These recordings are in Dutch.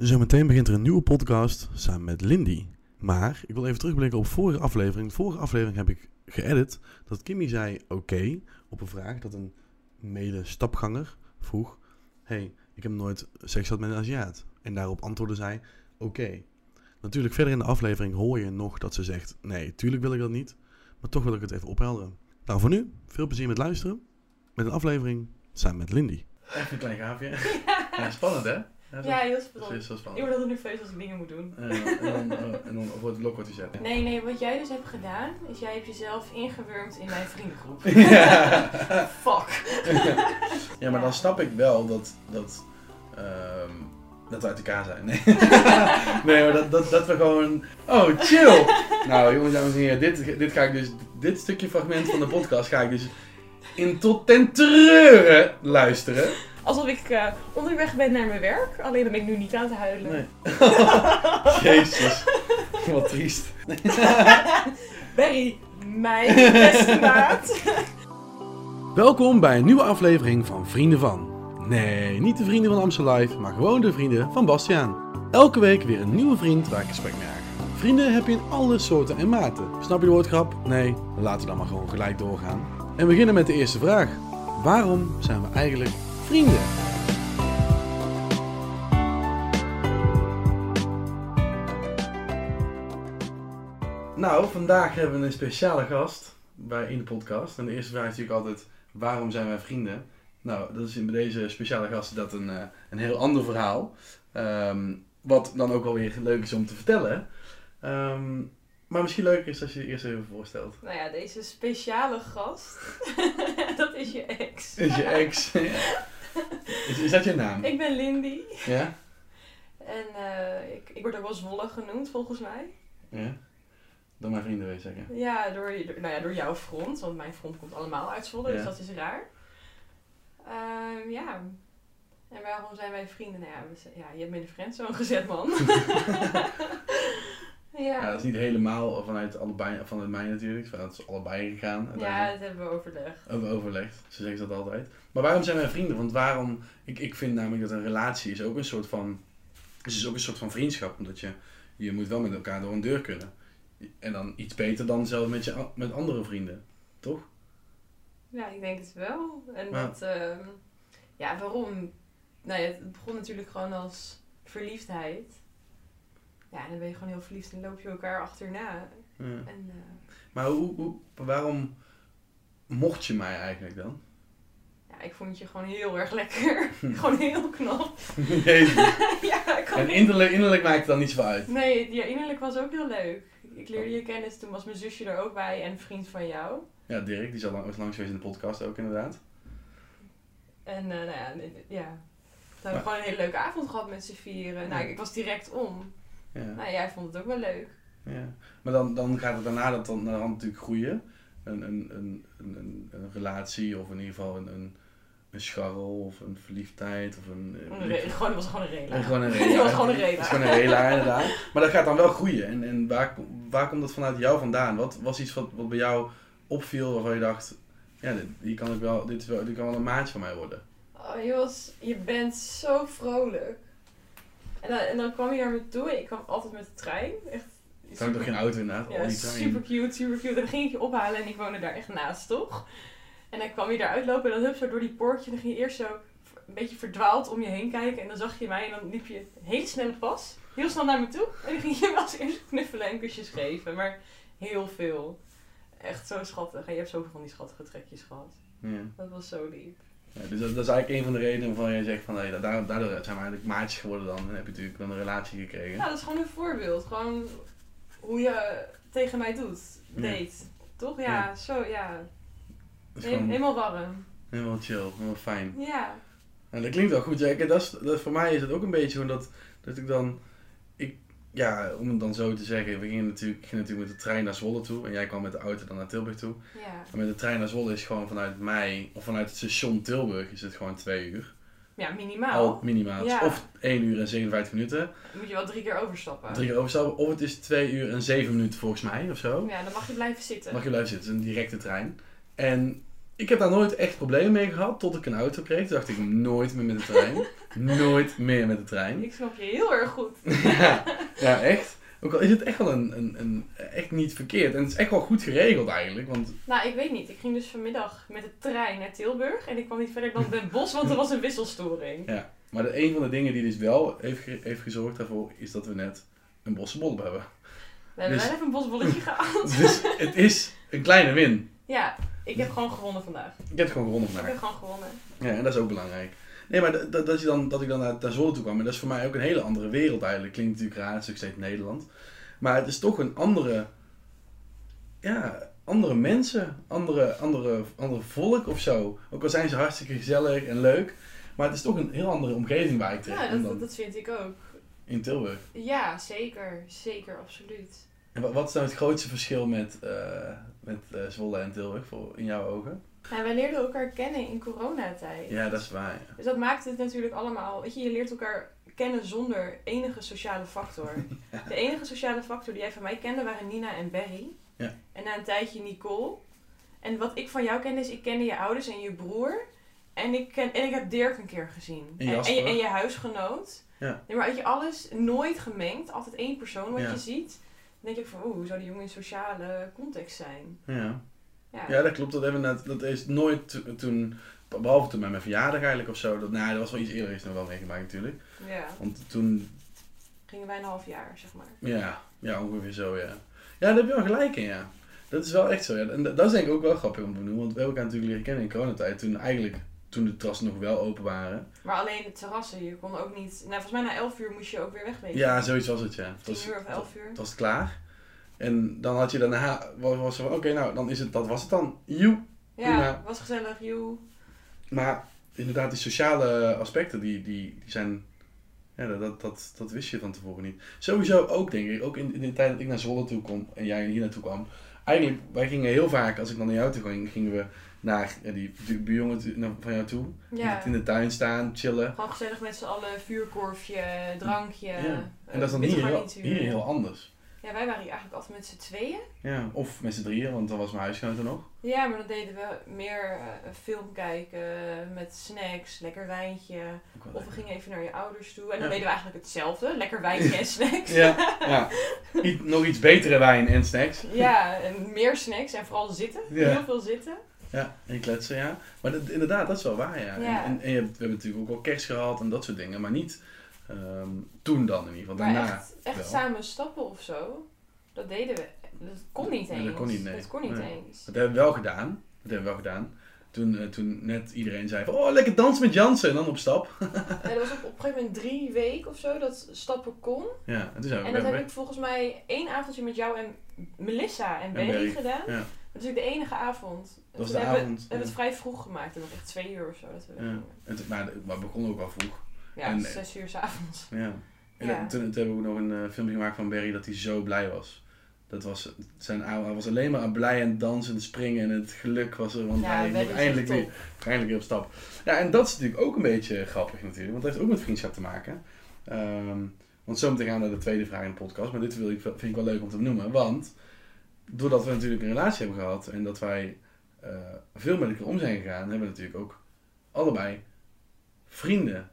Zometeen begint er een nieuwe podcast samen met Lindy. Maar ik wil even terugblikken op vorige aflevering. Vorige aflevering heb ik geëdit dat Kimmy zei oké op een vraag dat een mede-stapganger vroeg. hey, ik heb nooit seks gehad met een Aziat. En daarop antwoordde zij oké. Natuurlijk verder in de aflevering hoor je nog dat ze zegt nee, tuurlijk wil ik dat niet. Maar toch wil ik het even ophelderen. Nou voor nu, veel plezier met luisteren. Met een aflevering samen met Lindy. Even een klein gaafje. spannend hè? Ja, heel Dat spannend. is zo Ik word altijd nerveus als ik dingen moet doen. en dan, en dan wordt het blok wat hij zegt. Nee, nee, wat jij dus hebt gedaan, is jij hebt jezelf ingewurmd in mijn vriendengroep. ja. Fuck. maar dan snap ik wel dat, dat, ehm, dat we uit elkaar zijn. Nee, nee maar dat, dat, dat we gewoon... Oh, chill! Nou, jongens, dames en heren, dit, dit, ga ik dus, dit stukje fragment van de podcast ga ik dus in tot ten treuren luisteren. Alsof ik eh, onderweg ben naar mijn werk, alleen dan ben ik nu niet aan het huilen. Nee. Jezus, wat triest. Barry, mijn beste maat. Welkom bij een nieuwe aflevering van Vrienden van. Nee, niet de vrienden van Amstel Live, maar gewoon de vrienden van Bastiaan. Elke week weer een nieuwe vriend waar ik gesprek mee aanga. Vrienden heb je in alle soorten en maten. Snap je de woordgrap? Nee, laten we dan maar gewoon gelijk doorgaan. En we beginnen met de eerste vraag. Waarom zijn we eigenlijk vrienden? Nou, vandaag hebben we een speciale gast bij, in de podcast. En de eerste vraag is natuurlijk altijd, waarom zijn wij vrienden? Nou, dat is in bij deze speciale gast dat een, eh, een heel ander verhaal. Ehm, wat dan ook wel weer leuk is om te vertellen. Ehm, maar misschien leuker is als je je eerst even voorstelt. Nou ja, deze speciale gast, dat is je ex. Is je ex? Ja. is, is dat je naam? Ik ben Lindy Ja? en eh, ik, ik word ook wel Zwolle genoemd volgens mij. Ja. Door mijn vrienden wil je zeggen. Ja, door, je- door- nou ja, door jouw front, want mijn front komt allemaal uit Zwolle, Ja. dus dat is raar. Ehm, ja. En waarom zijn wij vrienden? Nou ja, we zijn- ja je hebt me in de friendzone gezet, man. Ja, ja. dat is niet helemaal vanuit, allebei, vanuit mij natuurlijk. Vanuit ze allebei gegaan. ja, uiteindelijk. dat hebben we overlegd. Over overlegd, zo zeggen ze dat altijd. Maar waarom zijn wij vrienden? Want waarom, ik, ik vind namelijk dat een relatie is ook een soort van, het is ook een soort van vriendschap. Omdat je, je moet wel met elkaar door een deur kunnen. En dan iets beter dan zelf met, je, a- met andere vrienden. Ja, ik denk het wel. En Ja. dat, ehm, ja, waarom? Nou ja, het begon natuurlijk gewoon als verliefdheid. Ja, en dan ben je gewoon heel verliefd en loop je elkaar achterna. Ja. En, eh, Maar hoe, hoe, waarom mocht je mij eigenlijk dan? ja, ik vond je gewoon heel erg lekker. gewoon heel knap. Jezus. ja, ik kon En niet- innerlijk, innerlijk maakt het dan niet zo uit. Nee, ja, innerlijk was ook heel leuk. Ik leerde Oh. je kennis, toen was mijn zusje er ook bij en een vriend van jou. Ja, Dirk, die is al lang, is langs geweest in de podcast ook inderdaad. En eh, nou ja, nee, ja. We hebben Maar- gewoon een hele leuke avond gehad met z'n vieren. Nou, Ja. ik, ik was direct om. Ja. Nou, jij vond het ook wel leuk. Ja, maar dan, dan gaat het daarna dat dan, dan natuurlijk groeien. Een, een, een, een, een, een relatie of in ieder geval een, een, een scharrel of een verliefdheid of een... Een re- gewoon, het was gewoon een rela. En gewoon een Het rela. was gewoon een Het rela. is gewoon een rela inderdaad. Maar dat gaat dan wel groeien. En, en waar, kom- waar komt dat vanuit jou vandaan? Wat was iets wat, wat bij jou opviel waarvan je dacht... Ja, dit, hier kan ik wel, dit, is wel, dit kan wel een maatje van mij worden. Oh, Jos, je bent zo vrolijk. En dan, en dan kwam je naar me toe en ik kwam altijd met de trein. Echt Toen had ik nog geen auto inderdaad. al Ja, die trein. super cute, super cute. En dan ging ik je ophalen en ik woonde daar echt naast, toch? En dan kwam je daar uitlopen en dan hup zo door die poortje. En dan ging je eerst zo een beetje verdwaald om je heen kijken. En dan zag je mij en dan liep je een hele snelle pas. Heel snel naar me toe. En dan ging je me als eerste knuffelen en kusjes geven. Maar heel veel. Echt zo schattig. En je hebt zoveel van die schattige trekjes gehad. Ja. Dat was zo lief. Ja, dus dat, dat is eigenlijk een van de redenen waarvan je zegt van hey, daar, daardoor zijn we eigenlijk maatjes geworden dan. En heb je natuurlijk dan een relatie gekregen. Ja, Nou, dat is gewoon een voorbeeld. Gewoon hoe je tegen mij doet. Ja. Date. Toch? Ja, Ja. zo ja. Dat is He- gewoon helemaal warm. helemaal chill, helemaal fijn. Ja. En dat klinkt wel goed. Ja, ik- dat is, dat, voor mij is het ook een beetje gewoon dat, dat ik dan... Ik, ja, om het dan zo te zeggen, we gingen natuurlijk, ik ging natuurlijk met de trein naar Zwolle toe. En jij kwam met de auto dan naar Tilburg toe. Ja. En met de trein naar Zwolle is gewoon vanuit mij, of vanuit het station Tilburg, is het gewoon twee uur. Ja, minimaal. Oh. Al minimaal. Nou, Ja. Of 1 uur en 57 minuten. Dan moet je wel drie keer overstappen. Drie keer overstappen. Of het is 2 uur en 7 minuten volgens mij, of zo. Ja, dan mag je blijven zitten. Mag je blijven zitten, het is een directe trein. En Ik heb daar nooit echt problemen mee gehad, tot ik een auto kreeg. Toen dacht ik, nooit meer met de trein. nooit meer met de trein. Ik snap je heel erg goed. ja, ja, echt. Ook al is het echt wel een, een, een, echt niet verkeerd. En het is echt wel goed geregeld eigenlijk. Want Nou, ik weet niet. Ik ging dus vanmiddag met de trein naar Tilburg. En ik kwam niet verder dan Den Bosch, want er was een wisselstoring. Maar de, een van de dingen die dus wel heeft, ge- heeft gezorgd daarvoor is dat we net een bossenbol hebben. We hebben Dus- wel even een bosbolletje gehaald. Dus het is een kleine win. Ja, ik heb gewoon gewonnen vandaag. Ik heb gewoon gewonnen Ik vandaag. heb gewoon gewonnen. Ja, en dat is ook belangrijk. Nee, maar dat, dat, dat je dan, dat ik dan naar, naar Zwolle toe kwam, en dat is voor mij ook een hele andere wereld eigenlijk. Klinkt natuurlijk raar, het is ook steeds Nederland. Maar het is toch een andere, ja, andere mensen, andere, andere, andere volk of zo. Ook al zijn ze hartstikke gezellig en leuk, maar het is toch een heel andere omgeving waar ik Ja, terecht kom dat, dan dat vind ik ook. in Tilburg. Ja, zeker. Zeker, absoluut. En wa- wat is nou het grootste verschil met, eh, met eh, Zwolle en Tilburg voor, in jouw ogen? Nou, wij leerden elkaar kennen in coronatijd. Ja, dat is waar. ja. Dus dat maakt het natuurlijk allemaal. Weet je, je leert elkaar kennen zonder enige sociale factor. De enige sociale factor die jij van mij kende waren Nina en Berry. Ja. En na een tijdje Nicole. En wat ik van jou kende is, ik kende je ouders en je broer. En ik, ken, en ik heb Dirk een keer gezien. En en, Jasper. je, en je huisgenoot. Ja. Nee, maar weet je, alles nooit gemengd. Altijd één persoon wat Ja. je ziet. Dan denk ik van, oeh, hoe zou die jongen in sociale context zijn? Ja. Ja. Ja, dat klopt. Dat, hebben we net, dat is nooit to- toen, behalve toen met mijn verjaardag eigenlijk of zo. Dat, nou, dat was wel iets eerder is nog wel meegemaakt natuurlijk. ja. Want toen, Gingen wij een half jaar, zeg maar. ja, ja ongeveer zo, ja. Ja, daar heb je wel gelijk in, ja. Dat is wel echt zo, ja. En dat dat is denk ik ook wel grappig om te doen. Want we hebben elkaar natuurlijk leren kennen in coronatijd. Toen eigenlijk, toen de terrassen nog wel open waren. Maar alleen de terrassen, je kon ook niet... Nou, volgens mij na 11 uur moest je ook weer wegwezen. Ja, zoiets was het, ja. Het 10 was, uur of 11 uur. het was klaar. En dan had je daarna, was, was er van, oké, nou, dan is het, dat was het dan. Joep. Ja, prima. was gezellig, joe. Maar inderdaad, die sociale aspecten, die, die, die zijn... Ja, dat- dat, dat, dat wist je van tevoren niet. Sowieso ook, denk ik. Ook in, in de tijd dat ik naar Zwolle toe kwam en jij hier naartoe kwam. Eigenlijk, wij gingen heel vaak, als ik dan naar jou toe ging, gingen we naar ja, die, die buurjongen toe- naar- van jou toe. Ja, In de tuin staan, chillen. gewoon gezellig met z'n allen, vuurkorfje, drankje. Ja. eh, En dat is dan witte hier heel, garnituur. hier heel anders. Ja, wij waren hier eigenlijk altijd met z'n tweeën. Ja, of met z'n drieën, want dan was mijn huisgenoot er nog. Ja, maar dan deden we meer eh, film kijken met snacks, lekker wijntje. Ook wel Of we gingen even naar je ouders toe. En dan Oh, Ja. deden we eigenlijk hetzelfde, lekker wijntje en snacks. Ja, ja. Iets- nog iets betere wijn en snacks. Ja, en meer snacks en vooral zitten. Ja. Heel veel zitten. Ja, en kletsen, ja. Maar dat, inderdaad, dat is wel waar, ja. Ja. En, en, en je hebt- we hebben natuurlijk ook wel kerst gehad en dat soort dingen, maar niet ehm, toen dan in ieder geval. Maar Daarna. echt, echt wel. samen stappen of zo, dat deden we. Dat kon niet Nee, eens. dat kon niet, nee. Dat kon niet Nee. eens. Dat hebben we wel gedaan. Dat hebben we wel gedaan. Toen, eh, toen net iedereen zei van, oh, lekker dansen met Jansen. En dan op stap. Ja, dat was op, op een gegeven moment drie weken of zo dat stappen kon. Ja, en toen zijn we En dat weer heb weg. ik volgens mij één avondje met jou en Melissa en Berry Berry, gedaan. ja. Dat is ook de enige avond. Dat was Dus de we hebben, avond, we hebben ja. het vrij vroeg gemaakt. Het was echt twee uur of zo dat we Ja. weggingen. En toen- maar, maar we begonnen ook al vroeg. Ja, En- zes uur s'avonds. Ja. En Ja. dat- toen, toen hebben we ook nog een eh, filmpje gemaakt van Barry dat hij zo blij was. Dat was zijn oude, hij was alleen maar blij aan het dansen, en springen en het geluk was er, want Ja, hij we hebben mocht het eindelijk echt weer, eindelijk weer op stap. Ja, en dat is natuurlijk ook een beetje grappig natuurlijk, want dat heeft ook met vriendschap te maken. Ehm, want zometeen gaan we naar de tweede vraag in de podcast, maar dit wil ik, vind ik wel leuk om te benoemen, want doordat we natuurlijk een relatie hebben gehad en dat wij eh, veel met elkaar om zijn gegaan, hebben we natuurlijk ook allebei vrienden.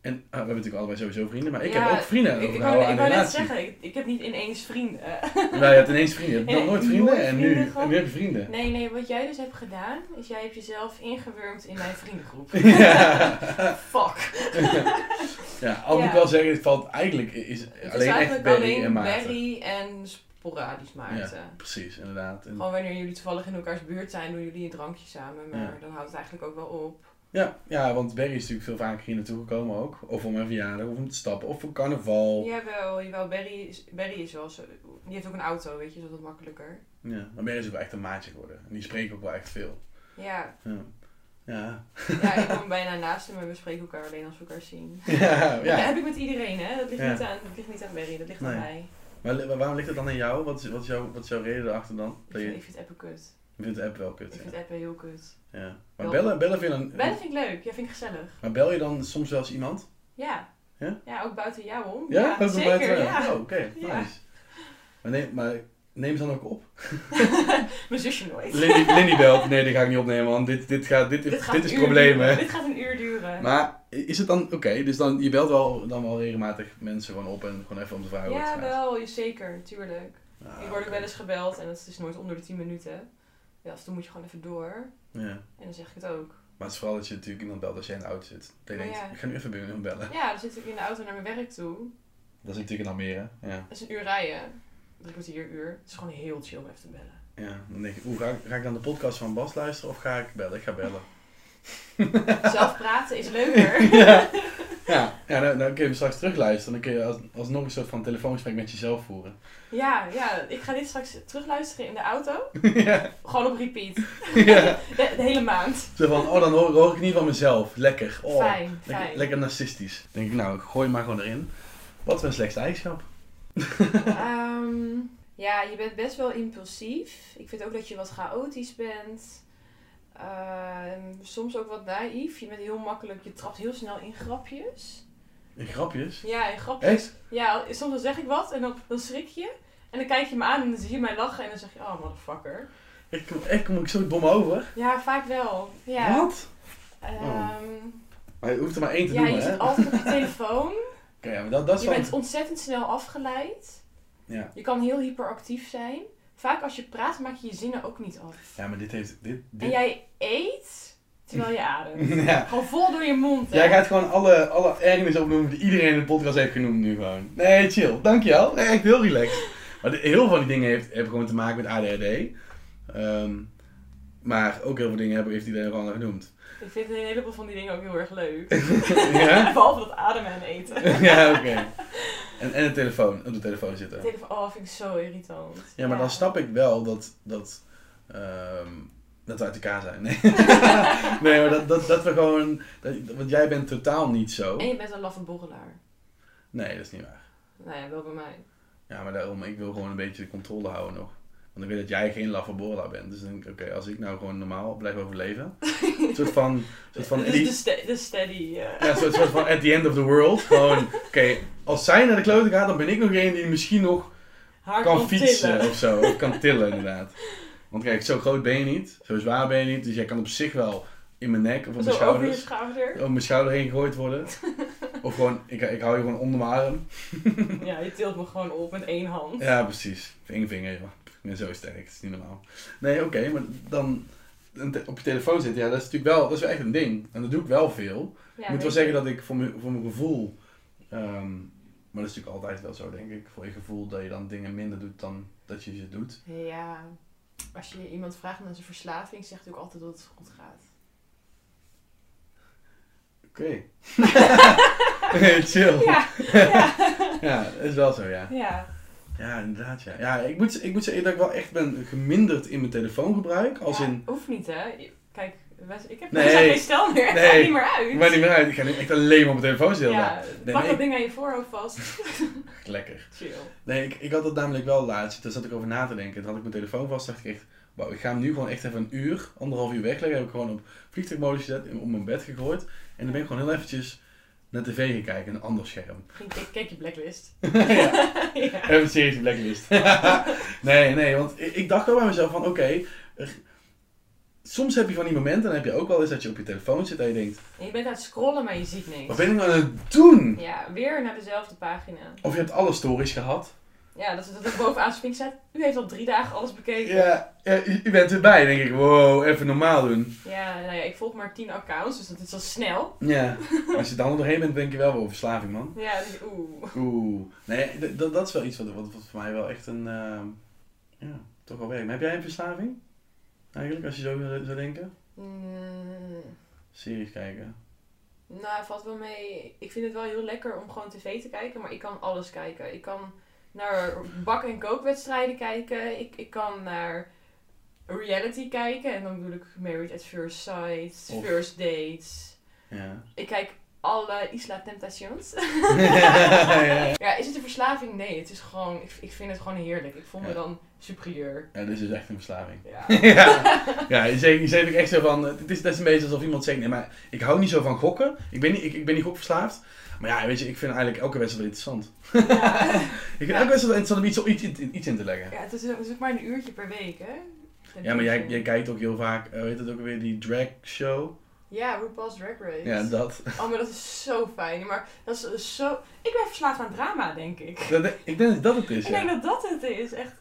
En ah, we hebben natuurlijk allebei sowieso vrienden, maar ik Ja, heb ook vrienden Ik, ik, overgehouden wou, aan ik de wou net relatie. zeggen, ik, ik heb niet ineens vrienden. Nou, je hebt ineens vrienden. Je hebt nog Ja, nooit vrienden nooit en nu, vrienden gehad. en nu heb je vrienden. Nee, nee, wat jij dus hebt gedaan, is jij hebt jezelf ingewurmd in mijn vriendengroep. ja. Fuck. ja, al moet ik Ja. wel zeggen, het valt eigenlijk is Het is alleen echt eigenlijk Barry alleen en Maarten. Berry en sporadisch Maarten. Precies, inderdaad. En- Gewoon wanneer jullie toevallig in elkaars buurt zijn, doen jullie een drankje samen. Maar dan houdt het eigenlijk ook wel op. ja, ja, want Barry is natuurlijk veel vaker hier naartoe gekomen ook. Of om mijn verjaardag, of om te stappen, of voor carnaval. Ja. Jawel, jawel. Barry is, Barry is wel zo. Die heeft ook een auto, weet je, is dat makkelijker. Maar Barry is ook wel echt een maatje geworden. En die spreekt ook wel echt veel. Ja, Ja. Ja, ja ik kom bijna naast hem en we spreken elkaar alleen als we elkaar zien. ja, Dat ja. heb ik met iedereen, hè? Dat ligt, Ja. niet, aan, dat ligt niet aan Barry, dat ligt Nee. aan mij. Maar, li- maar waarom ligt dat dan aan jou? Wat is, wat is, jou, wat is jouw reden erachter dan? Ik Dat vind, je ik vind appen kut. je vindt de app wel Ik kut. vind Ja. appen heel kut. Ja. Maar Wel- bellen, bellen vind je dan. Bellen vind ik leuk, ja, vind ik gezellig. Maar bel je dan soms wel eens iemand? Ja. Ja? ook buiten jou om. Ja, dat is zeker, wel- ja. Oh, oké, Ja. nice. Maar nee, maar Neem ze dan ook op. Mijn zusje nooit. Lindy, Lindy belt. Nee, die ga ik niet opnemen, man. Dit, dit, gaat, dit, dit, een is uur problemen. duren. Dit gaat een uur duren. Maar is het dan oké? dus dan, je belt wel, dan wel regelmatig mensen gewoon op en gewoon even om te vragen hoe het ja, gaat. wel, zeker, tuurlijk. Ah, ik word ook oké. wel eens gebeld en dat is dus nooit onder de 10 minuten. Ja, dus dan moet je gewoon even door. Ja. En dan zeg ik het ook. Maar het is vooral dat je natuurlijk iemand belt als jij in de auto zit. Dat je Maar denkt, Oh ja. ik ga nu even bij iemand bellen. Ja, dan zit ik in de auto naar mijn werk toe. Dat is natuurlijk in Almere. Ja. Dat is een uur rijden. Drie kwartier uur. Het is gewoon heel chill om even te bellen. ja. Dan denk ik, oeh, ga, ik- ga ik dan de podcast van Bas luisteren of ga ik bellen? Ik ga bellen. Zelf praten is leuker. ja. Ja, ja dan, dan kun je hem straks terugluisteren. Dan kun je als, alsnog een soort van telefoongesprek met jezelf voeren. Ja, ja, ik ga dit straks terugluisteren in de auto. ja. Gewoon op repeat. ja. De, de hele maand. Zo van, oh, dan hoor, hoor ik niet van mezelf. Lekker. Oh, fijn, lekker, fijn. lekker narcistisch. Dan denk ik, nou, gooi maar gewoon erin. Wat voor een slechtste eigenschap. Ehm, ja, je bent best wel impulsief. Ik vind ook dat je wat chaotisch bent. Ehm, soms ook wat naïef. Je bent heel makkelijk, je trapt heel snel in grapjes. En grapjes. Ja, in grapjes. Echt? Ja, soms dan zeg ik wat en dan, dan schrik je. En dan kijk je me aan en dan zie je mij lachen en dan zeg je, oh motherfucker. Ik kom, echt kom ik zo dom over. Ja, vaak wel. Ja. Wat? Ehm, Maar je hoeft er maar één te ja, noemen, je hè? zit altijd op je telefoon. Oké, ja, maar dat, dat is Je wel... bent ontzettend snel afgeleid. Ja. Je kan heel hyperactief zijn. Vaak als je praat maak je je zinnen ook niet af. ja, maar dit heeft... Dit, En dit... jij eet terwijl je ademt. Ja. Gewoon vol door je mond. hè? Jij gaat gewoon alle, alle ergernis opnoemen die iedereen in de podcast heeft genoemd nu gewoon. Nee, chill. Dankjewel. Nee, echt heel relaxed. Maar de- heel veel van die dingen heeft, hebben gewoon te maken met ADHD. Ehm, maar ook heel veel dingen hebben, heeft iedereen gewoon al genoemd. Ik vind een heleboel van die dingen ook heel erg leuk. ja? Behalve dat ademen en eten. ja, oké. En, en de telefoon. Op de telefoon zitten. Telefoon, oh, vind ik zo irritant. Ja, maar dan snap ik wel dat, dat, ehm, dat we uit elkaar zijn. Nee, nee maar dat, dat, dat we gewoon... Dat, want jij bent totaal niet zo. En je bent een laffe borrelaar. Nee, dat is niet waar. Nou ja, wel bij mij. Ja, maar daarom, ik wil gewoon een beetje de controle houden nog. Want ik weet dat jij geen laffe borrelaar bent. Dus dan denk ik, oké, als ik nou gewoon normaal blijf overleven. Een soort van, soort van, Dit is die- de, ste- de steady. eh. ja, soort, soort van at the end of the world. Gewoon, oké, als zij naar de klote gaat, dan ben ik nog een die misschien nog haar kan Ah, kan fietsen tillen. of zo. Of kan tillen, inderdaad. Want kijk, zo groot ben je niet. Zo zwaar ben je niet. Dus jij kan op zich wel in mijn nek of op mijn Zo over je schouders. schouder. Over mijn schouder heen gegooid worden. Of gewoon, ik, ik hou je gewoon onder mijn arm. Ja, je tilt me gewoon op met één hand. Ja, precies. Eén vinger, joh. Ik ben zo sterk, het is niet normaal. Nee, oké, maar dan een te- op je telefoon zitten, ja, dat is natuurlijk wel, dat is wel echt een ding. En dat doe ik wel veel. ik moet wel zeggen dat ik voor, mijn- voor mijn gevoel, ehm, maar dat is natuurlijk altijd wel zo, denk ik, voor je gevoel dat je dan dingen minder doet dan dat je ze doet. Ja, als je iemand vraagt naar zijn verslaving, zegt hij ook altijd dat het goed gaat. Oké. Chill. Ja. Ja, ja, dat is wel zo, ja. ja. Ja, inderdaad, ja. Ja, ik moet, ik moet zeggen dat ik wel echt ben geminderd in mijn telefoongebruik, als Ja, in... Hoeft niet, hè? Kijk, wij- ik heb Nee. nee. geen stel meer. Het Nee. gaat niet meer uit. Ik ben niet meer uit, ik ga nu echt alleen maar op mijn telefoon zitten. ja, nee, pak nee. dat ding aan je voorhoofd vast. Lekker. Chill. Nee, ik, ik had dat namelijk wel laatst. Toen zat ik over na te denken. Toen had ik mijn telefoon vast. dacht ik echt, wauw, ik ga hem nu gewoon echt even een uur, anderhalf uur wegleggen. Heb ik gewoon op vliegtuigmodus gezet en op mijn bed gegooid. En dan ben ik gewoon heel eventjes naar tv gaan kijken, een ander scherm. Ging- Kijk, kijk je blacklist. ja, ja. even serieus een blacklist. nee, nee, want ik, ik dacht wel bij mezelf van, oké, er- soms heb je van die momenten, dan heb je ook wel eens dat je op je telefoon zit en je denkt, En je bent aan het scrollen, maar je ziet niks. wat ben ik nou aan het doen? Ja, weer naar dezelfde pagina. Of je hebt alle stories gehad. Ja, dat, dat er bovenaan zo'n vinkje staat. U heeft al drie dagen alles bekeken. Ja, ja, u, u bent erbij. Dan denk ik, wow, even normaal doen. Ja, nou ja, ik volg maar tien accounts, dus dat is al snel. Ja, als je dan doorheen bent, denk je wel over verslaving, man. Ja, dan denk ik, oeh. Oeh. Nee, d- dat, dat is wel iets wat, wat, wat voor mij wel echt een. ehm, ja, toch wel werkt. Maar heb jij een verslaving? Eigenlijk, als je zo zou- zou denken? Mm, Series kijken. nou, valt wel mee. Ik vind het wel heel lekker om gewoon tv te kijken, maar ik kan alles kijken. Ik kan naar bak- en kookwedstrijden kijken. Ik, ik kan naar reality kijken. En dan bedoel ik Married at First Sight, Of- First Dates. Ja. Ik kijk alle Isla Temptations. ja, ja. Ja, is het een verslaving? Nee, het is gewoon, ik, ik vind het gewoon heerlijk. Ik voel me Ja. dan superieur. Ja, dit is dus echt een verslaving. Ja. ja, ja je zegt je zegt ook echt zo van. eh, Het is, dat is een beetje alsof iemand zegt: Nee, maar ik hou niet zo van gokken. Ik ben niet, ik, ik ben niet gokverslaafd. Maar ja, weet je, ik vind eigenlijk elke wedstrijd wel interessant. Ja. Ik vind Ja. elke wedstrijd wel interessant om iets, iets, in- iets in te leggen. Ja, het is, het is ook maar een uurtje per week, hè? Ja, maar jij, jij kijkt ook heel vaak, eh, weet het ook weer, die drag show. Ja, RuPaul's Drag Race. Ja, dat. Oh, maar dat is zo fijn. Maar dat is, is zo... Ik ben verslaafd aan drama, denk ik. dat. Ik denk dat dat het is, Ik denk Dus ja. dat dat het is. Echt...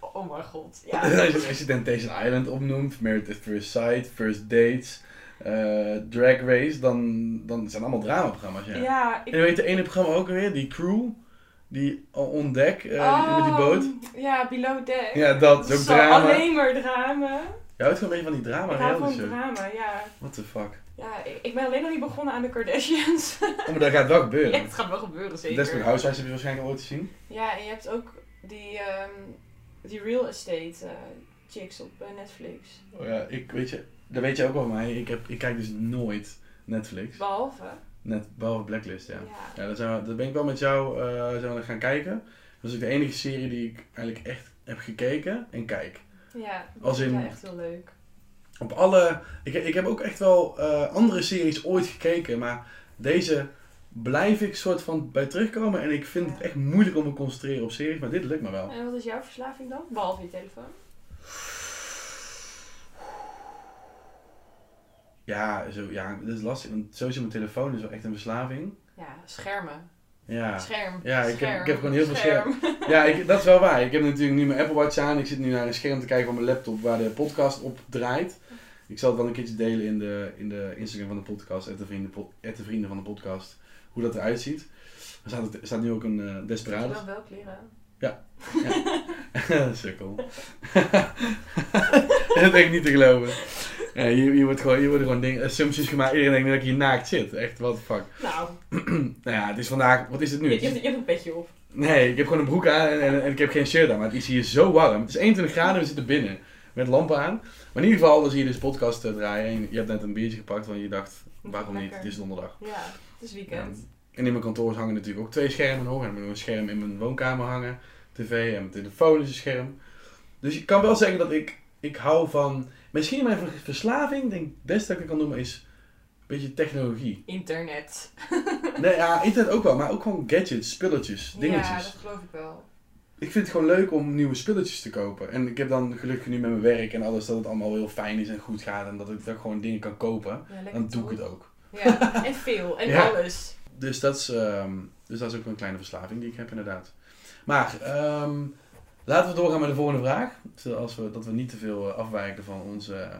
Oh mijn god. Ja. Als je- als je Temptation Island opnoemt, Married at First Sight, First Dates, eh, Drag Race, dan, dan zijn allemaal dramaprogramma's, ja. Ja, ik... En weet je, de ene programma ook weer, die crew, die ontdek, eh die- met die boot. Oh, Ja, Below Deck. Ja, dat is ook Zo, drama. Alleen maar drama. Je houdt gewoon een beetje van die drama ik hou van reality show. drama, ja. What the fuck. Ja, ik, ik ben alleen nog niet begonnen aan de Kardashians. Oh, maar dat gaat wel gebeuren. Ja, het gaat wel gebeuren, zeker. Desperate Housewives heb je waarschijnlijk ooit gezien. Ja, en je hebt ook die, ehm, die real estate eh, chicks op eh, Netflix. Oh ja, ik weet je, dat weet je ook wel van mij. Ik, heb, ik kijk dus nooit Netflix. Behalve. Net, behalve Blacklist, ja. Ja. Ja, dat, zijn we, dat ben ik wel met jou eh, zijn we dat gaan kijken. Dat is ook de enige serie die ik eigenlijk echt heb gekeken en kijk. Ja, dat Als is in- wel echt heel leuk. Op alle... Ik, ik heb ook echt wel eh, andere series ooit gekeken, maar deze blijf ik soort van bij terugkomen. En ik vind het echt moeilijk om me te concentreren op series, maar dit lukt me wel. En wat is jouw verslaving dan? Behalve je telefoon. Ja, zo, ja, dat is lastig, want sowieso mijn telefoon is wel echt een verslaving. Ja, schermen. Ja. Scherm. Ja, ik heb- Scherm. ik heb gewoon heel veel Ja, ik, dat is wel waar. Ik heb natuurlijk nu mijn Apple Watch aan. Ik zit nu naar een scherm te kijken van mijn laptop waar de podcast op draait. Ik zal het wel een keertje delen in de, in de Instagram van de podcast, at de, vrienden, po- at de vrienden van de podcast, hoe dat eruit ziet. Er staat, er staat nu ook een eh Ik heb Desperados. wel wel kleren. Sukkel. dat denk ik niet te geloven. Ja, hier, hier, wordt gewoon, hier worden gewoon dingen, assumpties gemaakt. Iedereen denkt nu dat ik hier naakt zit. Echt, what the fuck. Nou, Nou ja, het is vandaag, wat is het nu? je, Het je, is- hebt, je hebt een petje op. Nee, ik heb gewoon een broek aan en, en, en ik heb geen shirt aan. Maar het is hier zo warm. Het is 21 graden en we zitten binnen. Met lampen aan. Maar in ieder geval, dan zie je dus podcast eh, draaien. En je hebt net een biertje gepakt, want je dacht, waarom niet? Lekker. Het is donderdag. Ja, het is weekend. En in mijn kantoor hangen natuurlijk ook twee schermen nog. En ik heb nog een scherm in mijn woonkamer hangen. TV en mijn telefoon is een scherm. Dus ik kan wel zeggen dat ik, ik hou van... Misschien mijn ver- verslaving, denk ik, best dat ik het kan noemen, is een beetje technologie. Internet. Nee, ja, internet ook wel. Maar ook gewoon gadgets, spulletjes, dingetjes. Ja, dat geloof ik wel. Ik vind het gewoon leuk om nieuwe spulletjes te kopen. En ik heb dan gelukkig nu met mijn werk en alles dat het allemaal heel fijn is en goed gaat. En dat ik, dat ik gewoon dingen kan kopen. Ja, lekker Dan doe toch? ik het ook. Ja, en veel. En Ja. alles. Dus dat, is, ehm, dus dat is ook een kleine verslaving die ik heb inderdaad. Maar ehm, laten we doorgaan met de volgende vraag. Zoals we, dat we niet te veel eh, afwijken van, onze, eh,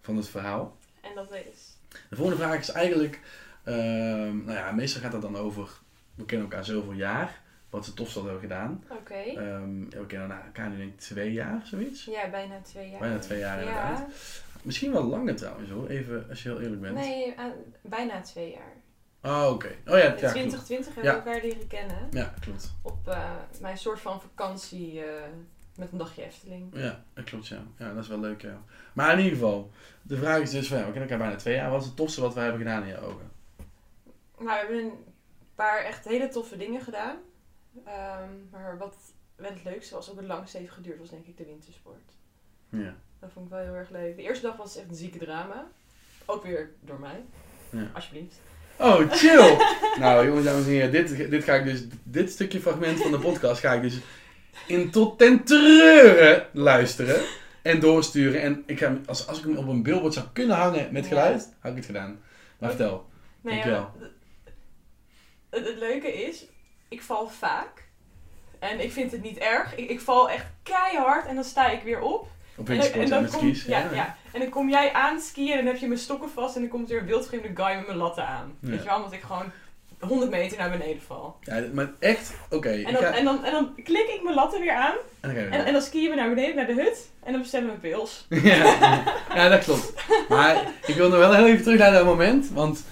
van het verhaal. En dat is. De volgende vraag is eigenlijk... ehm, nou ja, meestal gaat dat dan over... We kennen elkaar zoveel jaar. Wat ze tofst hadden gedaan. Oké. Ehm, we kennen elkaar nu denk ik twee jaar, zoiets. Ja, bijna twee jaar. Bijna twee jaar inderdaad. Ja, Misschien wel langer trouwens hoor, even als je heel eerlijk bent. nee, eh, bijna twee jaar. Oh, oké. Oh ja, ja, In klopt. 2020 hebben Ja. we elkaar leren kennen. Ja, klopt. Op eh, mijn soort van vakantie eh, met een dagje Efteling. Ja, dat klopt ja. Ja, dat is wel leuk ja. Maar in ieder geval, de vraag is dus van ja, we kennen elkaar bijna twee jaar. Wat is het tofste wat wij hebben gedaan in je ogen? Nou, we hebben een paar echt hele toffe dingen gedaan. Ehm, maar wat wel het leukste was, ook het langste heeft geduurd, was denk ik de wintersport. Ja. Dat vond ik wel heel erg leuk. De eerste dag was echt een zieke drama. Ook weer door mij. Ja. Alsjeblieft. Oh, chill! nou jongens, dames en heren, dit, dit ga ik dus, dit stukje fragment van de podcast ga ik dus in tot ten treuren luisteren. En doorsturen. En ik ga, hem- als, als ik hem op een billboard zou kunnen hangen met Ja. geluid, had ik het gedaan. Maar vertel. Nee, Dankjewel. ja, het, het leuke is, ik val vaak. En ik vind het niet erg. Ik, ik val echt keihard en dan sta ik weer op. Op En, een dan- en sport en dan met kom, skis. ja, ja. en dan kom jij aan skiën en dan heb je mijn stokken vast en dan komt er een wildvreemde guy met mijn latten aan. Ja. Weet je wel, omdat ik gewoon 100 meter naar beneden val. Ja, maar echt, oké. ik En dan, ga- en, dan, en dan klik ik mijn latten weer aan En dan ga je weer en, en dan skiën we naar beneden naar de hut en dan bestellen we pils. ja, ja, dat klopt. Maar ik wil nog wel heel even terug naar dat moment. Want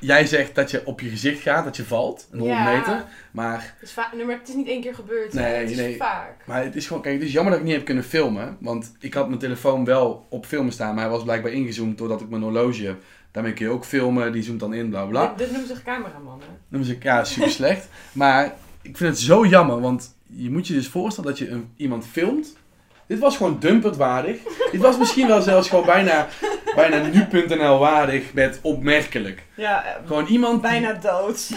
jij zegt dat je op je gezicht gaat, dat je valt. Een 100 Ja. meter. Maar, Dus va- nee, maar het is niet één keer gebeurd, hè. Nee, het is nee. vaak. maar het is gewoon, kijk, het is jammer dat ik niet heb kunnen filmen. Want ik had mijn telefoon wel op filmen staan. Maar hij was blijkbaar ingezoomd doordat ik mijn horloge heb. Daarmee kun je ook filmen, die zoomt dan in, bla bla. Dit, dit noemen ze cameramannen. Dan was ik, ja, super slecht. Maar ik vind het zo jammer, want je moet je dus voorstellen dat je een, iemand filmt. Dit was gewoon dumpert waardig. Dit was misschien wel zelfs gewoon bijna, bijna nu.nl waardig met opmerkelijk. Ja, eh, Gewoon iemand. die- bijna dood.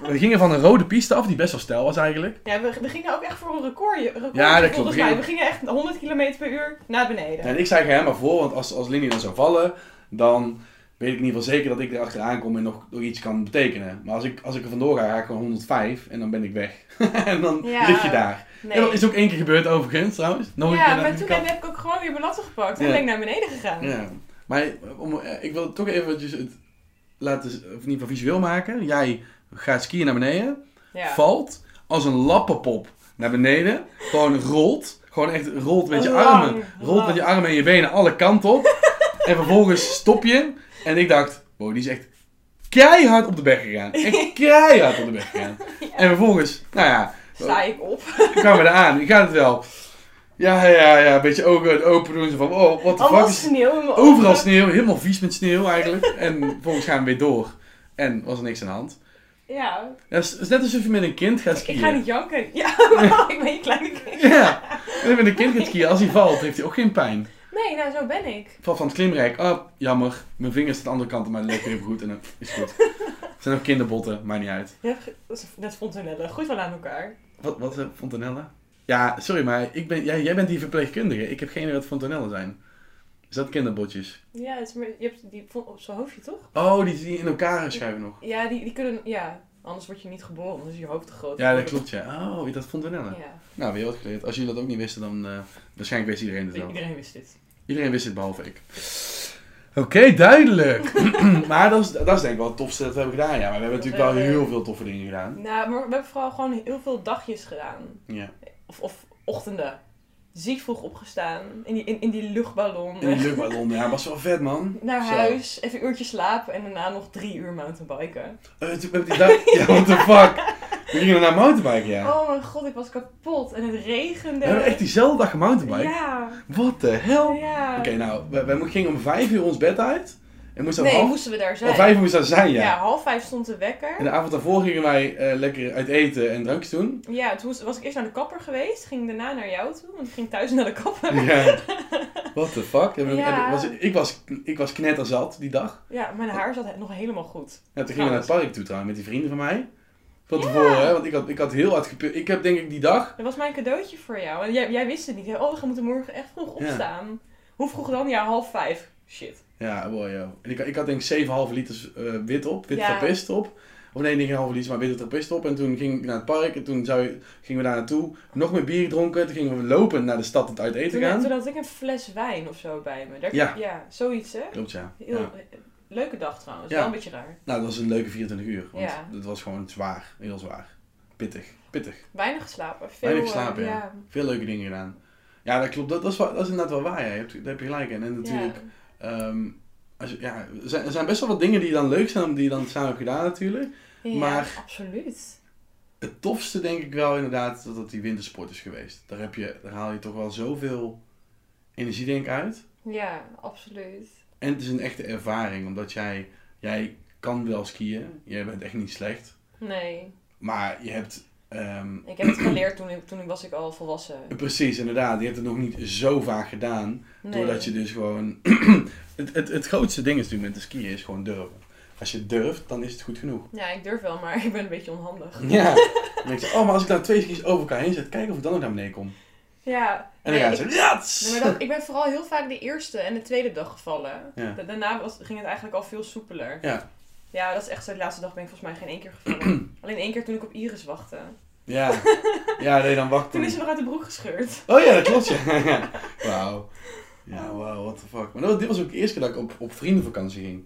We gingen van een rode piste af, die best wel stijl was eigenlijk. Ja, we, we gingen ook echt voor een record. record Ja, dat Volgens klopt. mij, we gingen echt 100 km per uur naar beneden. En ik zei er helemaal voor, want als, als Lindy dan zou vallen, dan weet ik in ieder geval zeker dat ik erachteraan kom en nog, nog iets kan betekenen. Maar als ik, als ik er vandoor ga, ga ik gewoon 105 en dan ben ik weg. en dan Ja, lig je daar. En dat is ook één keer gebeurd overigens trouwens. Nog een keer ja, aan maar de toen kant. heb Oh, ik ook gewoon weer mijn latten gepakt en Ja. ben ik naar beneden gegaan. Ja, maar om, eh, ik wil toch eventjes het laten, of in ieder geval visueel maken. Jij gaat skiën naar beneden, Ja. valt als een lappenpop naar beneden, gewoon rolt, gewoon echt rolt met je Lang, armen, rolt lang. met je armen en je benen alle kanten op. en vervolgens stop je. En ik dacht, wow, die is echt keihard op de weg gegaan. Echt keihard op de weg gegaan. En vervolgens, nou ja, Sta ik op. kwamen we eraan. Ik ga het wel. Ja, ja, ja, een beetje ogen open doen. Zo van, oh, what the fuck Allemaal is sneeuw in mijn Overal ogen. sneeuw, helemaal vies met sneeuw eigenlijk. En vervolgens gaan we weer door. En was er niks aan de hand. Ja, Ja, Het is het is net alsof je met een kind gaat skiën. ik ga niet janken. Ja, maar ik ben je kleine kind. Ja, als je met een kind gaat skiën, als hij valt, heeft hij ook geen pijn. Nee, nou zo ben ik. Valt van het klimrijk, ah, jammer. Mijn vinger staat de andere kant op, maar dat lekker even goed. En dan is goed. Het zijn ook kinderbotten, maakt niet uit. Ja, dat is- Dat vond Tonelle goed wel aan elkaar. Wat, wat eh, Fontanella? Ja, sorry, maar ik ben, jij, jij bent die verpleegkundige. Ik heb geen idee wat Fontanella zijn. Is dat kinderbotjes? Ja, het is maar, je hebt die vond op zijn hoofdje toch? Oh, die die in elkaar schuiven nog. Ja, die, die kunnen. Ja, anders word je niet geboren, anders is je hoofd te groot. Ja, dat klopt, ja. Oh, dat Fontanella. Ja, Nou, weer wat geleerd. Als jullie dat ook niet wisten, dan eh, waarschijnlijk wist iedereen het wel. iedereen wist dit. Iedereen wist het behalve ik. Oké, duidelijk. maar dat is, dat is denk ik wel het tofste dat we hebben gedaan. Ja, maar we hebben natuurlijk wel heel veel toffe dingen gedaan. Nou, maar we hebben vooral gewoon heel veel dagjes gedaan. Ja. Of, of ochtenden. Ziek vroeg opgestaan. In die, in, in die luchtballon. In de luchtballon, ja, was wel vet man. Naar Zo. huis, even een uurtje slapen en daarna nog drie uur mountainbiken. Eh, toen hebben we die dag... Ja, what the fuck. We gingen naar mountainbiken, ja. Oh mijn god, ik was kapot en het regende. We hebben echt diezelfde dag gemountainbiked. Ja, What the hell? Oké, ja. nou, we, we gingen om vijf uur ons bed uit. En moesten om nee, half... moesten we daar zijn. Om vijf uur moesten we daar zijn, ja. ja. half vijf stond de wekker. En de avond daarvoor gingen wij eh, lekker uit eten en drankjes doen. Ja, toen moest- was ik eerst naar de kapper geweest, ging daarna naar jou toe, want ik ging thuis naar de kapper. Ja. What the fuck? Hebben we- Ja. hebben- was, ik, was, ik was knetterzat die dag. Ja, mijn haar zat nog helemaal goed. En toen gingen we naar het park toe trouwens met die vrienden van mij. Van tevoren, hè? want ik had, ik had heel hard gepu- Ik heb denk ik die dag... Dat was mijn cadeautje voor jou. En jij, jij wist het niet. hè? Oh, we moeten morgen echt vroeg Ja. opstaan. Hoe vroeg dan? Ja, half vijf. Shit. Ja, boy, joh. En ik, ik had denk ik 7,5 liters eh, wit op, wit Ja. trappist op. Of nee, niet 1,5 liter, maar witte trappist op. En toen ging ik naar het park en toen zou, je- gingen we daar naartoe. Nog meer bier dronken. Toen gingen we lopen naar de stad om uit eten Toen, te gaan. toen had ik een fles wijn of zo bij me. Daar, Ja. zoiets hè. Klopt, ja. Heel, eh, ja. Leuke dag trouwens. Ja. Wel een beetje raar. Nou, dat was een leuke 24 uur. Want Ja. het was gewoon zwaar. Heel zwaar. Pittig. Pittig. Weinig geslapen. Veel, Weinig eh, geslapen, ja. ja. Veel leuke dingen gedaan. Ja, dat klopt. Dat, dat, is, wel- dat is inderdaad wel waar. Ja. Je hebt, daar heb je gelijk in. En natuurlijk, Ja. ehm, als je, ja, er, zijn, er zijn best wel wat dingen die dan leuk zijn, die je dan samen hebt gedaan natuurlijk. Ja, maar- absoluut. Het tofste denk ik wel inderdaad dat dat die wintersport is geweest. Daar, heb je, daar haal je toch wel zoveel energie denk ik uit. Ja, absoluut. En het is een echte ervaring, omdat jij, jij kan wel skiën. Jij bent echt niet slecht. Nee. Maar je hebt, ehm, Ik heb het geleerd toen, ik, toen ik was ik al volwassen. precies inderdaad, je hebt het nog niet zo vaak gedaan. Nee. Doordat je dus gewoon. het, het, het grootste ding is natuurlijk met de skiën is gewoon durven. Als je durft, dan is het goed genoeg. Ja, ik durf wel, maar ik ben een beetje onhandig. Ja. dan denk je, oh, maar als ik nou twee skis over elkaar heen zet, kijk of ik dan ook naar beneden kom. Ja. En Nee, dan ga je ik- zeggen, "Jats!" Nee, maar dat, ik ben vooral heel vaak de eerste en de tweede dag gevallen. Ja. Da- Daarna was, ging het eigenlijk al veel soepeler. Ja. Ja, dat is echt zo. De laatste dag ben ik volgens mij geen één keer gevallen. Alleen één keer toen ik op Iris wachtte. Ja. Ja, nee, dan wacht Toen is ze dan. nog uit de broek gescheurd. Oh ja, dat klopt, ja. Wauw. Ja, wauw, what the fuck. Maar dat, was- dit was ook de eerste keer dat ik op, op vriendenvakantie ging.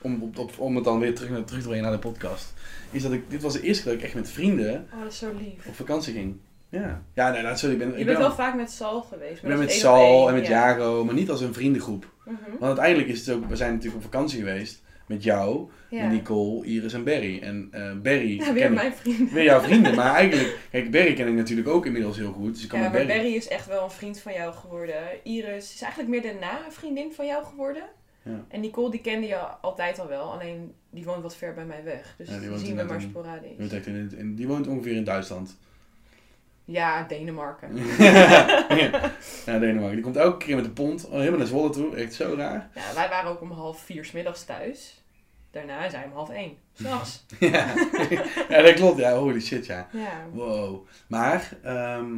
Om, op, op- om het dan weer terug, naar- terug te brengen naar de podcast. Is dat ik, dit was de eerste keer dat ik echt met vrienden Oh, dat is zo lief. op vakantie ging. Ja. Ja, nee, nou, sorry, ik ben... Je ik bent ben wel vaak met Sal geweest. Ik ben maar dat met is één op Sal één, en met ja. Jaro, maar niet als een vriendengroep. Mhm, Want uiteindelijk is het ook, we zijn natuurlijk op vakantie geweest met jou, ja. met Nicole, Iris en Barry. En eh, Barry Ja, weer ken mijn vriend. ik, weer jouw vrienden, maar eigenlijk, kijk, Barry ken ik natuurlijk ook inmiddels heel goed, dus ik kan Ja, met maar Barry. Barry is echt wel een vriend van jou geworden. Iris is eigenlijk meer daarna een vriendin van jou geworden. Ja. En Nicole, die kende je altijd al wel. Alleen, die woont wat ver bij mij weg. Dus Ja, die die woont zien we inderdaad maar in- Die sporadisch. woont echt in- in- die woont ongeveer in Duitsland. Ja, Denemarken. ja, Denemarken. Die komt elke keer met een pond oh, helemaal naar Zwolle toe. Echt zo raar. Ja, wij waren ook om half vier 's middags thuis. Daarna zijn we om half één. S'nachts. ja. ja, dat klopt. Ja, holy shit, ja. Ja. Wow. Maar, ehm,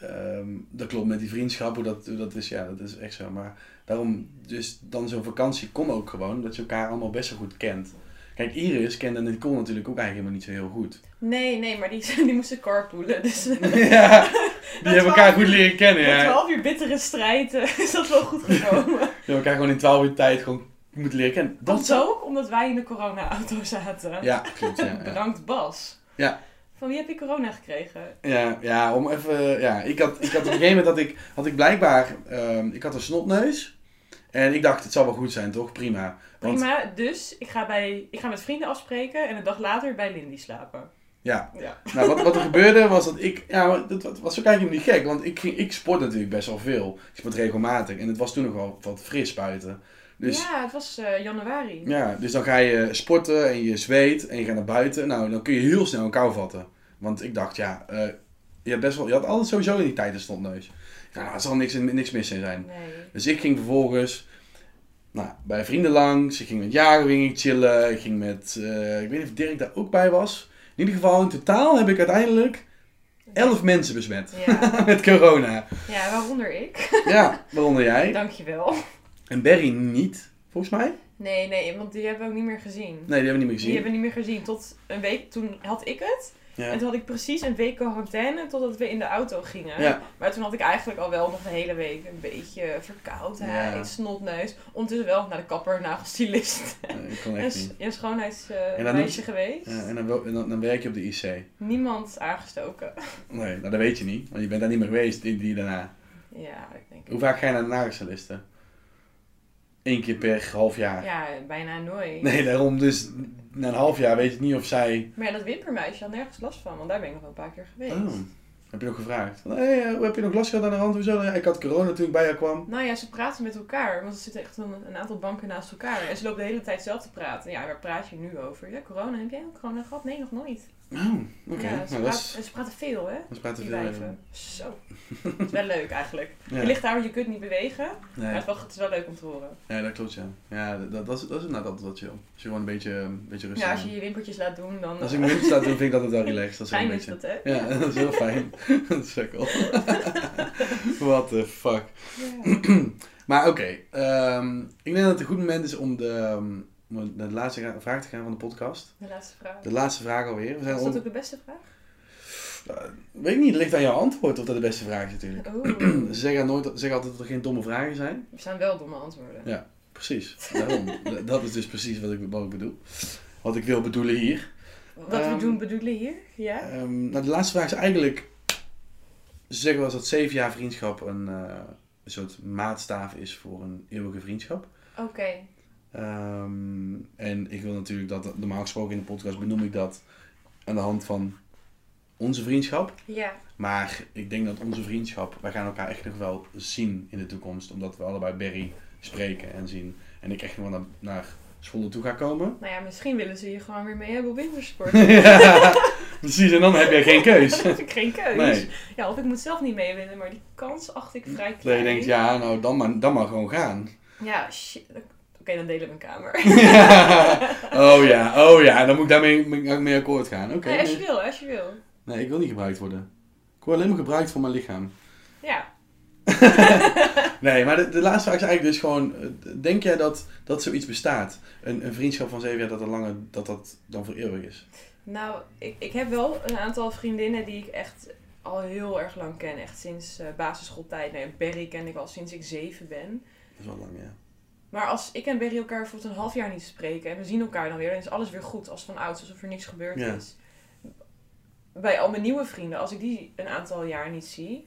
ehm, dat klopt met die vriendschap, hoe dat, hoe dat is, ja, dat is echt zo. Maar daarom, dus dan zo'n vakantie kon ook gewoon, dat je elkaar allemaal best wel goed kent. Kijk, Iris kende Nicole natuurlijk ook eigenlijk helemaal niet zo heel goed. Nee, nee, maar die, die moesten carpoolen. Dus ja, die hebben elkaar goed leren kennen, na ja. twaalf uur bittere strijd eh, is dat wel goed Die gekomen. hebben elkaar gewoon in 12 uur tijd gewoon moeten leren kennen. Dat zo ook omdat wij in de corona-auto zaten. Ja, klopt, ja. ja. Bedankt Bas. Ja. Van wie heb je corona gekregen? Ja, ja, om even. Ja, ik had, ik had op een gegeven moment had ik, had ik blijkbaar. ehm, ik had een snotneus. En ik dacht, het zal wel goed zijn, toch? Prima. Want Prima, dus ik ga, bij, ik ga met vrienden afspreken en een dag later bij Lindy slapen. Ja. Ja. Nou, wat, wat er gebeurde was dat ik. Ja, maar dat, dat was ook eigenlijk niet gek. Want ik, ging, ik sport natuurlijk best wel veel. Ik sport regelmatig. En het was toen nog wel wat fris buiten. Dus ja. Ja, het was eh, januari. dus dan ga je sporten en je zweet en je gaat naar buiten. Nou, dan kun je heel snel een kou vatten. Want ik dacht, ja, eh, je, had best wel, je had altijd sowieso in die tijd een stondneus. Ja, nou, er zal niks, niks mis in zijn. Nee. Dus ik ging vervolgens nou, bij vrienden langs. Ik ging met Jago ging ik chillen. Ik ging met, eh, ik weet niet of Dirk daar ook bij was. In ieder geval, in totaal heb ik uiteindelijk 11 mensen besmet. Ja. met corona. ja, waaronder ik. Ja, waaronder jij. Dankjewel. En Berry niet, volgens mij. Nee, nee, want die hebben we ook niet meer gezien. Nee, die hebben we niet Die meer gezien. hebben we niet meer gezien. Tot een week, toen had ik het. En Ja. toen had ik precies een week quarantaine totdat we in de auto gingen. Ja. Maar toen had ik eigenlijk al wel nog een hele week een beetje verkoudheid, Ja. snotneus. Ondertussen wel naar de kapper, nagelstylist Eh, Ik kon en, echt s- niet. en En dan schoonheidsmeisje doet- geweest. Ja, en dan, wel- en dan, dan werk je op de IC. Niemand aangestoken. Nee, nou, dat weet je niet, want je bent daar niet meer geweest die, die daarna. Ja, ik denk Hoe vaak ga je naar de nagelstylisten? Eén keer per half jaar. Ja, bijna nooit. Nee, daarom dus na een half jaar weet je niet of zij... Maar ja, dat wimpermuisje had nergens last van, want daar ben ik nog wel een paar keer geweest. Oh, heb je nog gevraagd? Van, hey, eh, heb je nog last gehad aan de hand? Hoezo? Ja, ik had corona toen ik bij jou kwam. Nou ja, ze praten met elkaar, want er zitten echt een, een aantal banken naast elkaar. En ze lopen de hele tijd zelf te praten. Ja, waar praat je nu over? Ja, corona. Heb jij ook corona gehad? Nee, nog nooit. Oh, oké. Ja, nou, ze, dat praat- is... en ze praten veel, hè? Dat is praten Die veel even. wijven. Zo. Dat is wel leuk eigenlijk. Ja. Je ligt daar, je kunt niet bewegen. Maar Nee, het, wel, het is wel leuk om te horen. nee, dat klopt, ja. Ja, dat, dat, is, dat is inderdaad altijd wat chill. Als je gewoon een beetje, een beetje rustig Ja, als aan- je je wimpertjes laat doen, dan... Als ik wind sta, dan vind ik Dus, eh, dat het wel relaxed. Dat is wel een Fijn is beetje... dat, hè? Ja, dat is heel fijn. Sukkel. What the fuck. Ja. Maar oké, ehm, ik denk dat het een goed moment is om de, ehm, om naar de laatste ra- vraag te gaan van de podcast. De laatste vraag. De laatste vraag alweer. We zijn Is on- dat ook de beste vraag? Weet ik niet, het ligt aan jouw antwoord of dat de beste vraag is natuurlijk. Oeh, Ze zeggen, nooit, ze zeggen altijd dat er geen domme vragen zijn. er staan wel domme antwoorden. Ja. Precies, daarom. D- dat is dus precies wat ik, wat ik bedoel. Wat ik wil bedoelen hier. Wat Ehm, we doen bedoelen hier, ja? Ehm, nou, de laatste vraag is eigenlijk... Ze zeggen wel eens dat zeven jaar vriendschap een, eh, een soort maatstaaf is voor een eeuwige vriendschap. Oké. Ehm, en ik wil natuurlijk dat, normaal gesproken in de podcast benoem ik dat aan de hand van onze vriendschap. Ja. Maar ik denk dat onze vriendschap, wij gaan elkaar echt nog wel zien in de toekomst. Omdat we allebei Barry spreken en zien. En ik echt nog wel naar, naar Zwolle toe ga komen. Nou ja, misschien willen ze je gewoon weer mee hebben op wintersport. ja, precies, en dan heb je geen keus. Dan heb ik geen keus. Nee, Ja, of ik moet zelf niet mee willen, maar die kans acht ik vrij dat je klein. denkt, ja, nou dan maar, dan maar gewoon gaan. Ja, shit. Oké, dan delen we een kamer. oh ja, oh ja, dan moet ik daarmee mee, mee akkoord gaan. Oké. Nee, als je nee. wil, als je wil. nee, ik wil niet gebruikt worden. Ik word alleen maar gebruikt voor mijn lichaam. Ja. Nee, maar de, de laatste vraag is eigenlijk dus gewoon: eh, denk jij dat, dat zoiets bestaat? Een, een vriendschap van zeven jaar dat, er langer, dat dat dan voor eeuwig is? Nou, ik, ik heb wel een aantal vriendinnen die ik echt al heel erg lang ken. Echt sinds eh, basisschooltijd. Nee, Berry ken ik al sinds ik zeven ben. Dat is wel lang, ja. Maar als ik en Berry elkaar bijvoorbeeld een half jaar niet spreken en we zien elkaar dan weer, dan is alles weer goed. Als van ouds, alsof er niks gebeurd Ja. is. Bij al mijn nieuwe vrienden, als ik die een aantal jaar niet zie,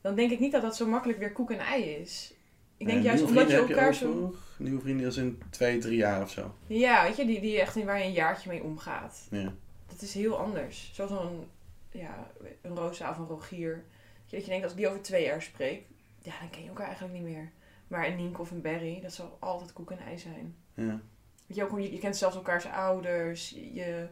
dan denk ik niet dat dat zo makkelijk weer koek en ei is. Ik denk Eh, juist nieuwe omdat je vrienden elkaar heb ook zo. nog? Nieuwe vrienden als in twee, drie jaar of zo. Ja, weet je, die, die echt waar je een jaartje mee omgaat. Ja. Dat is heel anders. Zoals een, ja, een Rosa of een Rogier. Dat je dat je denkt, als ik die over twee jaar spreek, ja, dan ken je elkaar eigenlijk niet meer. Maar een Nienke of een Berry, dat zal altijd koek en ei zijn. ja. Weet je, ook, hoe je, je kent zelfs elkaars ouders. Je,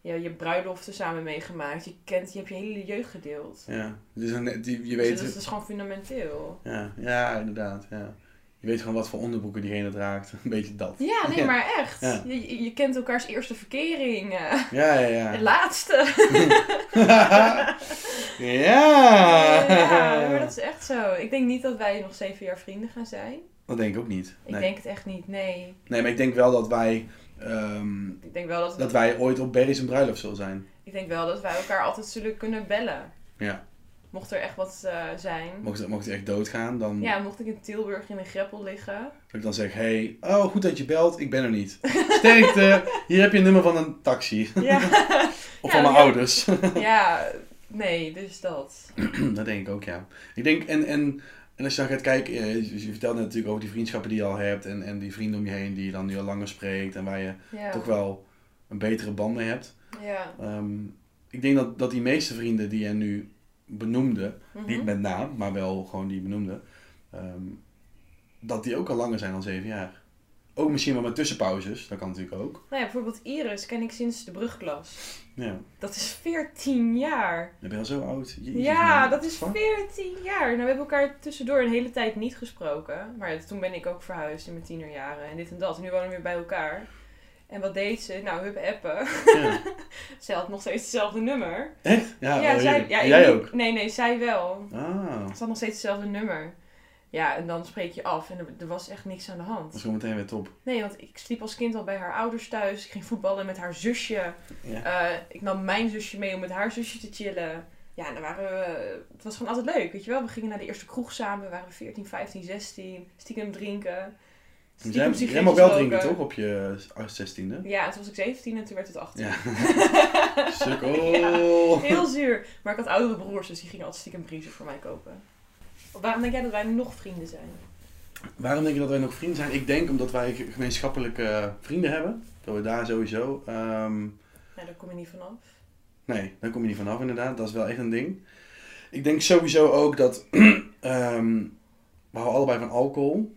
ja, je bruiloften samen meegemaakt. Je kent, je hebt je hele jeugd gedeeld. Ja. Dus dan, die, je Dus weet... dat is gewoon fundamenteel. Ja, ja, inderdaad. Ja. Je weet gewoon wat voor onderbroeken diegene draagt. Een beetje dat. Ja, nee, Ja. maar echt. Ja. Je- Je, je kent elkaars eerste verkering. eh, Ja, ja, het ja. laatste. ja. Eh, ja, maar dat is echt zo. Ik denk niet dat wij nog zeven jaar vrienden gaan zijn. Dat denk ik ook niet. Ik Nee. denk het echt niet, nee. nee, maar ik denk wel dat wij, ehm, Ik denk wel dat, dat wij ooit op Berry's een bruiloft zullen zijn. ik denk wel dat wij elkaar altijd zullen kunnen bellen. Ja. Mocht er echt wat eh, zijn. Mocht, het- mocht het echt doodgaan, dan Ja, mocht ik in Tilburg in een greppel liggen. dat ik dan zeg, hey, oh, goed dat je belt, ik ben er niet. Sterkte, hier heb je een nummer van een taxi. Ja, Of van Ja, mijn ja. ouders. ja nee, dus dat. dat denk ik ook, ja. Ik denk, en, en, en als je dan gaat kijken, eh, je je vertelt net natuurlijk over die vriendschappen die je al hebt en, en die vrienden om je heen die je dan nu al langer spreekt en waar je Ja. toch wel een betere band mee hebt. Ja. Ehm, ik denk dat, dat die meeste vrienden die je nu benoemde, Mhm. niet met naam, maar wel gewoon die je benoemde, ehm, dat die ook al langer zijn dan zeven jaar. Ook misschien wel met tussenpauzes, dat kan natuurlijk ook. Nou ja, bijvoorbeeld Iris ken ik sinds de brugklas. Ja, Dat is 14 jaar. dan ben je al zo oud. Jezus, Ja, man. dat is Fuck. 14 jaar. Nou, we hebben elkaar tussendoor een hele tijd niet gesproken. Maar ja, toen ben ik ook verhuisd in mijn tienerjaren en dit en dat. En nu wonen we weer bij elkaar. En wat deed ze? Nou, hup appen. Ja. Ze had nog steeds hetzelfde nummer. Echt? Ja, oh, zij, heerlijk. ja, jij ik- ook. Nee, nee, zij wel. Ah, Ze had nog steeds hetzelfde nummer. Ja, en dan spreek je af en er, er was echt niks aan de dat is hand. gewoon meteen weer top. Nee, want ik sliep als kind al bij haar ouders thuis. Ik ging voetballen met haar zusje. Ja. Eh, ik nam mijn zusje mee om met haar zusje te chillen. Ja, en dan waren we... Het was gewoon altijd leuk, weet je wel. We gingen naar de eerste kroeg samen. We waren 14, 15, 16. Stiekem drinken. Dus Stiekem jij, jij sigaretjes mag wel roken. drinken, toch? Op je 16e. Ja, en toen was ik 17 en toen werd het 18. Ja. Sukkel. Heel zuur. Maar ik had oudere broers, dus die gingen altijd stiekem briezen voor mij kopen. Waarom denk jij dat wij nog vrienden zijn? Waarom denk je dat wij nog vrienden zijn? Ik denk omdat wij gemeenschappelijke eh, vrienden hebben. Dat we daar sowieso. ehm, Nou, daar kom je niet vanaf. nee, daar kom je niet vanaf inderdaad. Dat is wel echt een ding. Ik denk sowieso ook dat ehm, we houden allebei van alcohol.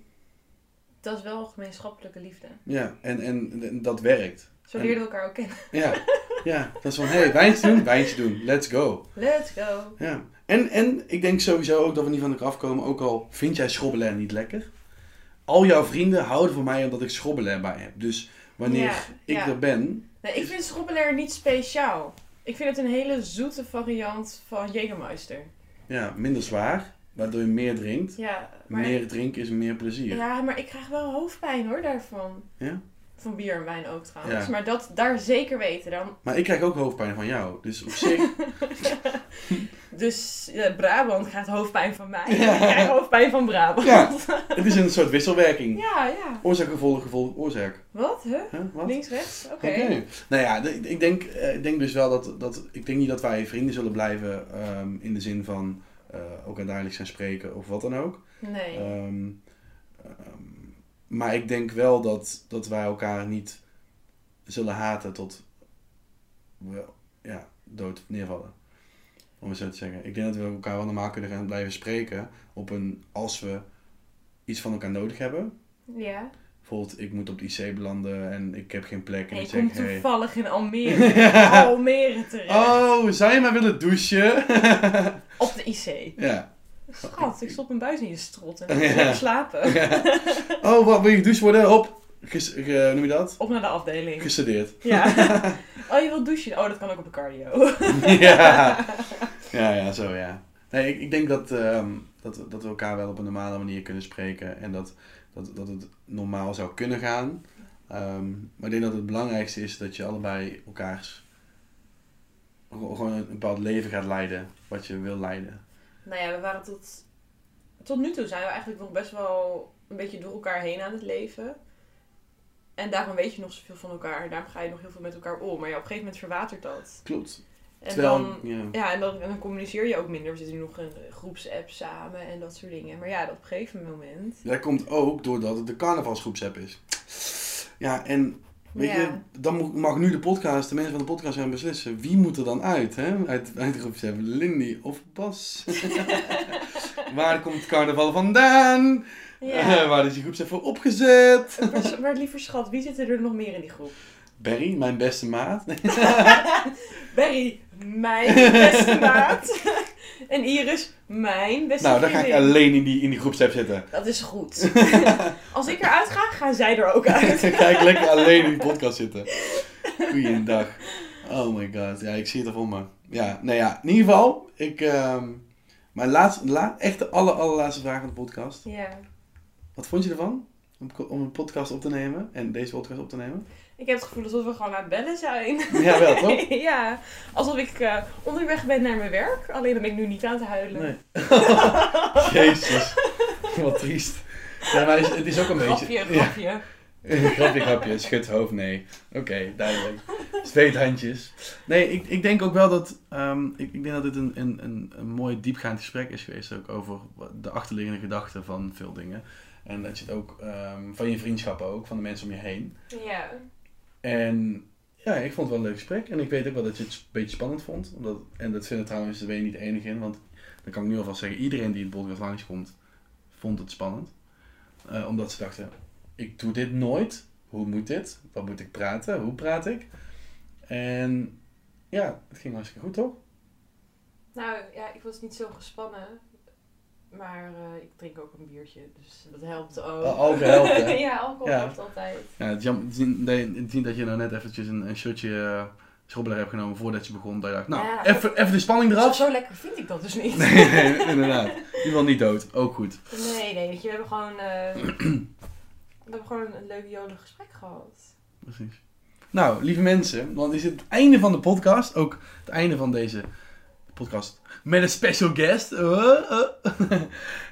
Dat is wel gemeenschappelijke liefde. Ja, en, en, en dat werkt. Zo En- leerden we elkaar ook kennen. Ja, ja. dat is van, hé, hey, wijntje doen, wijntje doen. Let's go. Let's go. Ja. En, en ik denk sowieso ook dat we niet van elkaar afkomen, ook al vind jij schrobbelen niet lekker. Al jouw vrienden houden van mij omdat ik schrobbelen bij heb. Dus wanneer Ja, ik ja. er ben, Nee, ik vind schrobbelair niet speciaal. Ik vind het een hele zoete variant van Jägermeister. ja, minder zwaar, waardoor je meer drinkt. Ja, maar, Meer drinken is meer plezier. ja, maar ik krijg wel hoofdpijn hoor daarvan. Ja? Van bier en wijn ook trouwens. Ja. Maar dat daar zeker weten dan. Maar ik krijg ook hoofdpijn van jou. Dus op zich, Dus eh, Brabant krijgt hoofdpijn van mij. Ik krijg hoofdpijn van Brabant. Ja. het is een soort wisselwerking. ja. ja. Oorzaak, gevolg, gevolg, oorzaak. Wat? Huh? Huh? Wat? Links, rechts? Oké. Oké. Nou ja, d- ik denk, eh, ik denk dus wel dat, dat... Ik denk niet dat wij vrienden zullen blijven ehm, in de zin van eh, elkaar dagelijks gaan spreken of wat dan ook. Nee. Ehm, ehm, maar ik denk wel dat, dat wij elkaar niet zullen haten tot we ja, dood neervallen. Om het zo te zeggen. Ik denk dat we elkaar wel normaal kunnen gaan blijven spreken op een, als we iets van elkaar nodig hebben. ja. Bijvoorbeeld, ik moet op het IC belanden en ik heb geen plek. En En ik je zeg, komt hey, toevallig in Almere. Almere terecht. Oh, zou je maar willen douchen? Op de IC. ja. Schat, ik stop mijn buis in je strot en Ja. ik ga slapen. Oh, wat wil je gedoucht worden? Op. Ges, ge- noem je dat? Op naar de afdeling. Gestudeerd. Ja. Oh, je wilt douchen? Oh, dat kan ook op de cardio. ja. ja, ja, zo ja. Nee, ik, ik denk dat, ehm, dat, dat we elkaar wel op een normale manier kunnen spreken en dat, dat, dat het normaal zou kunnen gaan. Ehm, maar ik denk dat het belangrijkste is dat je allebei elkaars gewoon gewoon een bepaald leven gaat leiden, wat je wil leiden. Nou ja, we waren tot... Tot nu toe zijn we eigenlijk nog best wel een beetje door elkaar heen aan het leven. En daarom weet je nog zoveel van elkaar. Daarom ga je nog heel veel met elkaar om. Maar ja, op een gegeven moment verwatert dat. Klopt. En Terwijl, dan... ja. Ja, en dan, en dan communiceer je ook minder. We zitten nu nog in groepsapp samen en dat soort dingen. Maar ja, dat op een gegeven moment... dat komt ook doordat het de carnavalsgroepsapp is. Ja, en weet ja. je, dan mo- mag nu de podcast, de mensen van de podcast gaan beslissen. Wie moet er dan uit, hè? Uit, uit de groepsapp, Lindy of Bas? Waar komt carnaval vandaan? Ja. Eh, waar is die groepsapp voor opgezet? Maar, maar liever schat, wie zitten er nog meer in die groep? Barry, mijn beste maat. Barry, mijn beste maat. en Iris, mijn beste nou, dan ga ik vriendin. alleen in die, in die groepsapp zitten. Dat is goed. Als ik eruit ga, gaan zij er ook uit. Dan ga ik lekker alleen in die podcast zitten. Goeiedag. Oh my god. Ja, ik zie het er voor me. Ja, nou ja, in ieder geval. Ik, ehm, mijn laatste, la, echt de aller, allerlaatste vraag van de podcast. Ja. Wat vond je ervan? Om, ko- om een podcast op te nemen en deze podcast op te nemen? Ik heb het gevoel alsof we gewoon aan het bellen zijn. Ja, wel toch? ja. Alsof ik eh, onderweg ben naar mijn werk. Alleen dan ben ik nu niet aan het huilen. Nee. Jezus. Wat triest. Ja, maar het is, het is ook een Grapje, beetje... grapje. Ja, grapje, grapje. Schud hoofd, nee. Oké, duidelijk. Zweethandjes. Nee, ik, ik denk ook wel dat... ehm, ik, ik denk dat dit een, een, een, een mooi diepgaand gesprek is geweest. Ook over de achterliggende gedachten van veel dingen. En dat je het ook... ehm, van je vriendschappen ook. Van de mensen om je heen. Ja. En ja, ik vond het wel een leuk gesprek. En ik weet ook wel dat je het een beetje spannend vond. Omdat, en dat vinden trouwens, daar ben je niet de enige in. Want dan kan ik nu alvast zeggen, iedereen die in de podcast langskomt, vond het spannend. Eh, omdat ze dachten, ik doe dit nooit. Hoe moet dit? Wat moet ik praten? Hoe praat ik? En ja, het ging hartstikke goed, toch? Nou ja, ik was niet zo gespannen. Maar eh, ik drink ook een biertje, dus dat helpt ook. Al- alcohol Oh, helpt, hè? ja, alcohol Ja. helpt altijd. Ja, het is jammer het is niet- nee, het is niet dat je nou net eventjes een, een shotje eh, schrobbelaar hebt genomen voordat je begon. Dat je dacht, nou, Ja. even, even de spanning Zo, eraf. zo lekker vind ik dat dus niet. Nee, nee, inderdaad. Iemand niet dood, ook goed. Nee, nee, weet je, we hebben gewoon, eh, we hebben gewoon een leuk jolig gesprek gehad. Precies. Nou, lieve mensen, dan is het het einde van de podcast. Ook het einde van deze podcast met een special guest. Eh, eh.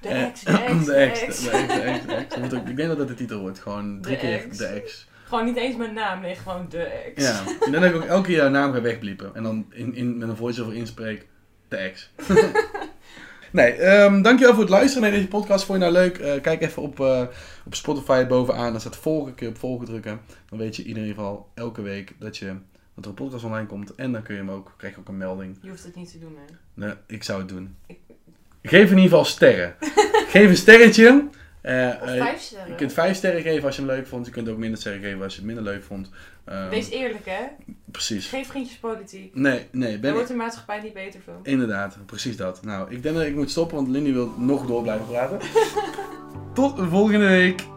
De Eh, ex, de ex, de ex. De ex, de ex, de ex. Dat moet ook- Ik denk dat dat de titel wordt. Gewoon drie De keer ex. de ex. Gewoon niet eens mijn naam, nee, gewoon de ex. Ja. En dan heb ik ook elke keer jouw naam ga wegbliepen. En dan in, in, met een voice-over inspreek de ex. Nee, ehm, dankjewel voor het luisteren naar deze podcast. Vond je nou leuk? Eh, kijk even op, eh, op Spotify bovenaan. Daar staat volgen. Kun je op volgen drukken. Dan weet je in ieder geval elke week dat, je, dat er een podcast online komt. En dan kun je hem ook, krijg je ook een melding. Je hoeft het niet te doen, hè. Nee, ik zou het doen. Geef in ieder geval sterren. Geef een sterretje. Eh, Of eh, vijf je sterren. kunt vijf sterren geven als je hem leuk vond. Je kunt ook minder sterren geven als je het minder leuk vond. Ehm, Wees eerlijk, hè. precies. Geen vriendjespolitiek. Nee, nee. Daar Ben wordt de maatschappij niet beter van. Inderdaad, precies dat. Nou, ik denk dat ik moet stoppen, want Lindy wil nog door blijven praten. Tot volgende week.